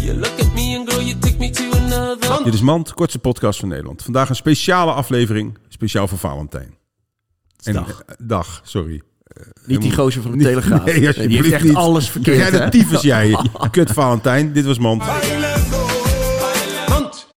You look at me and girl, you take me to another. Dit is Mand, kortste podcast van Nederland. Vandaag een speciale aflevering, speciaal voor Valentijn. En, dag. eh, dag, sorry. Niet die gozer van de Niet- Telegraaf. Nee, alsjeblieft die heeft echt niet. alles verkeerd. Jij de hè? tyfus, jij. Kut Valentijn, dit was Mand. Party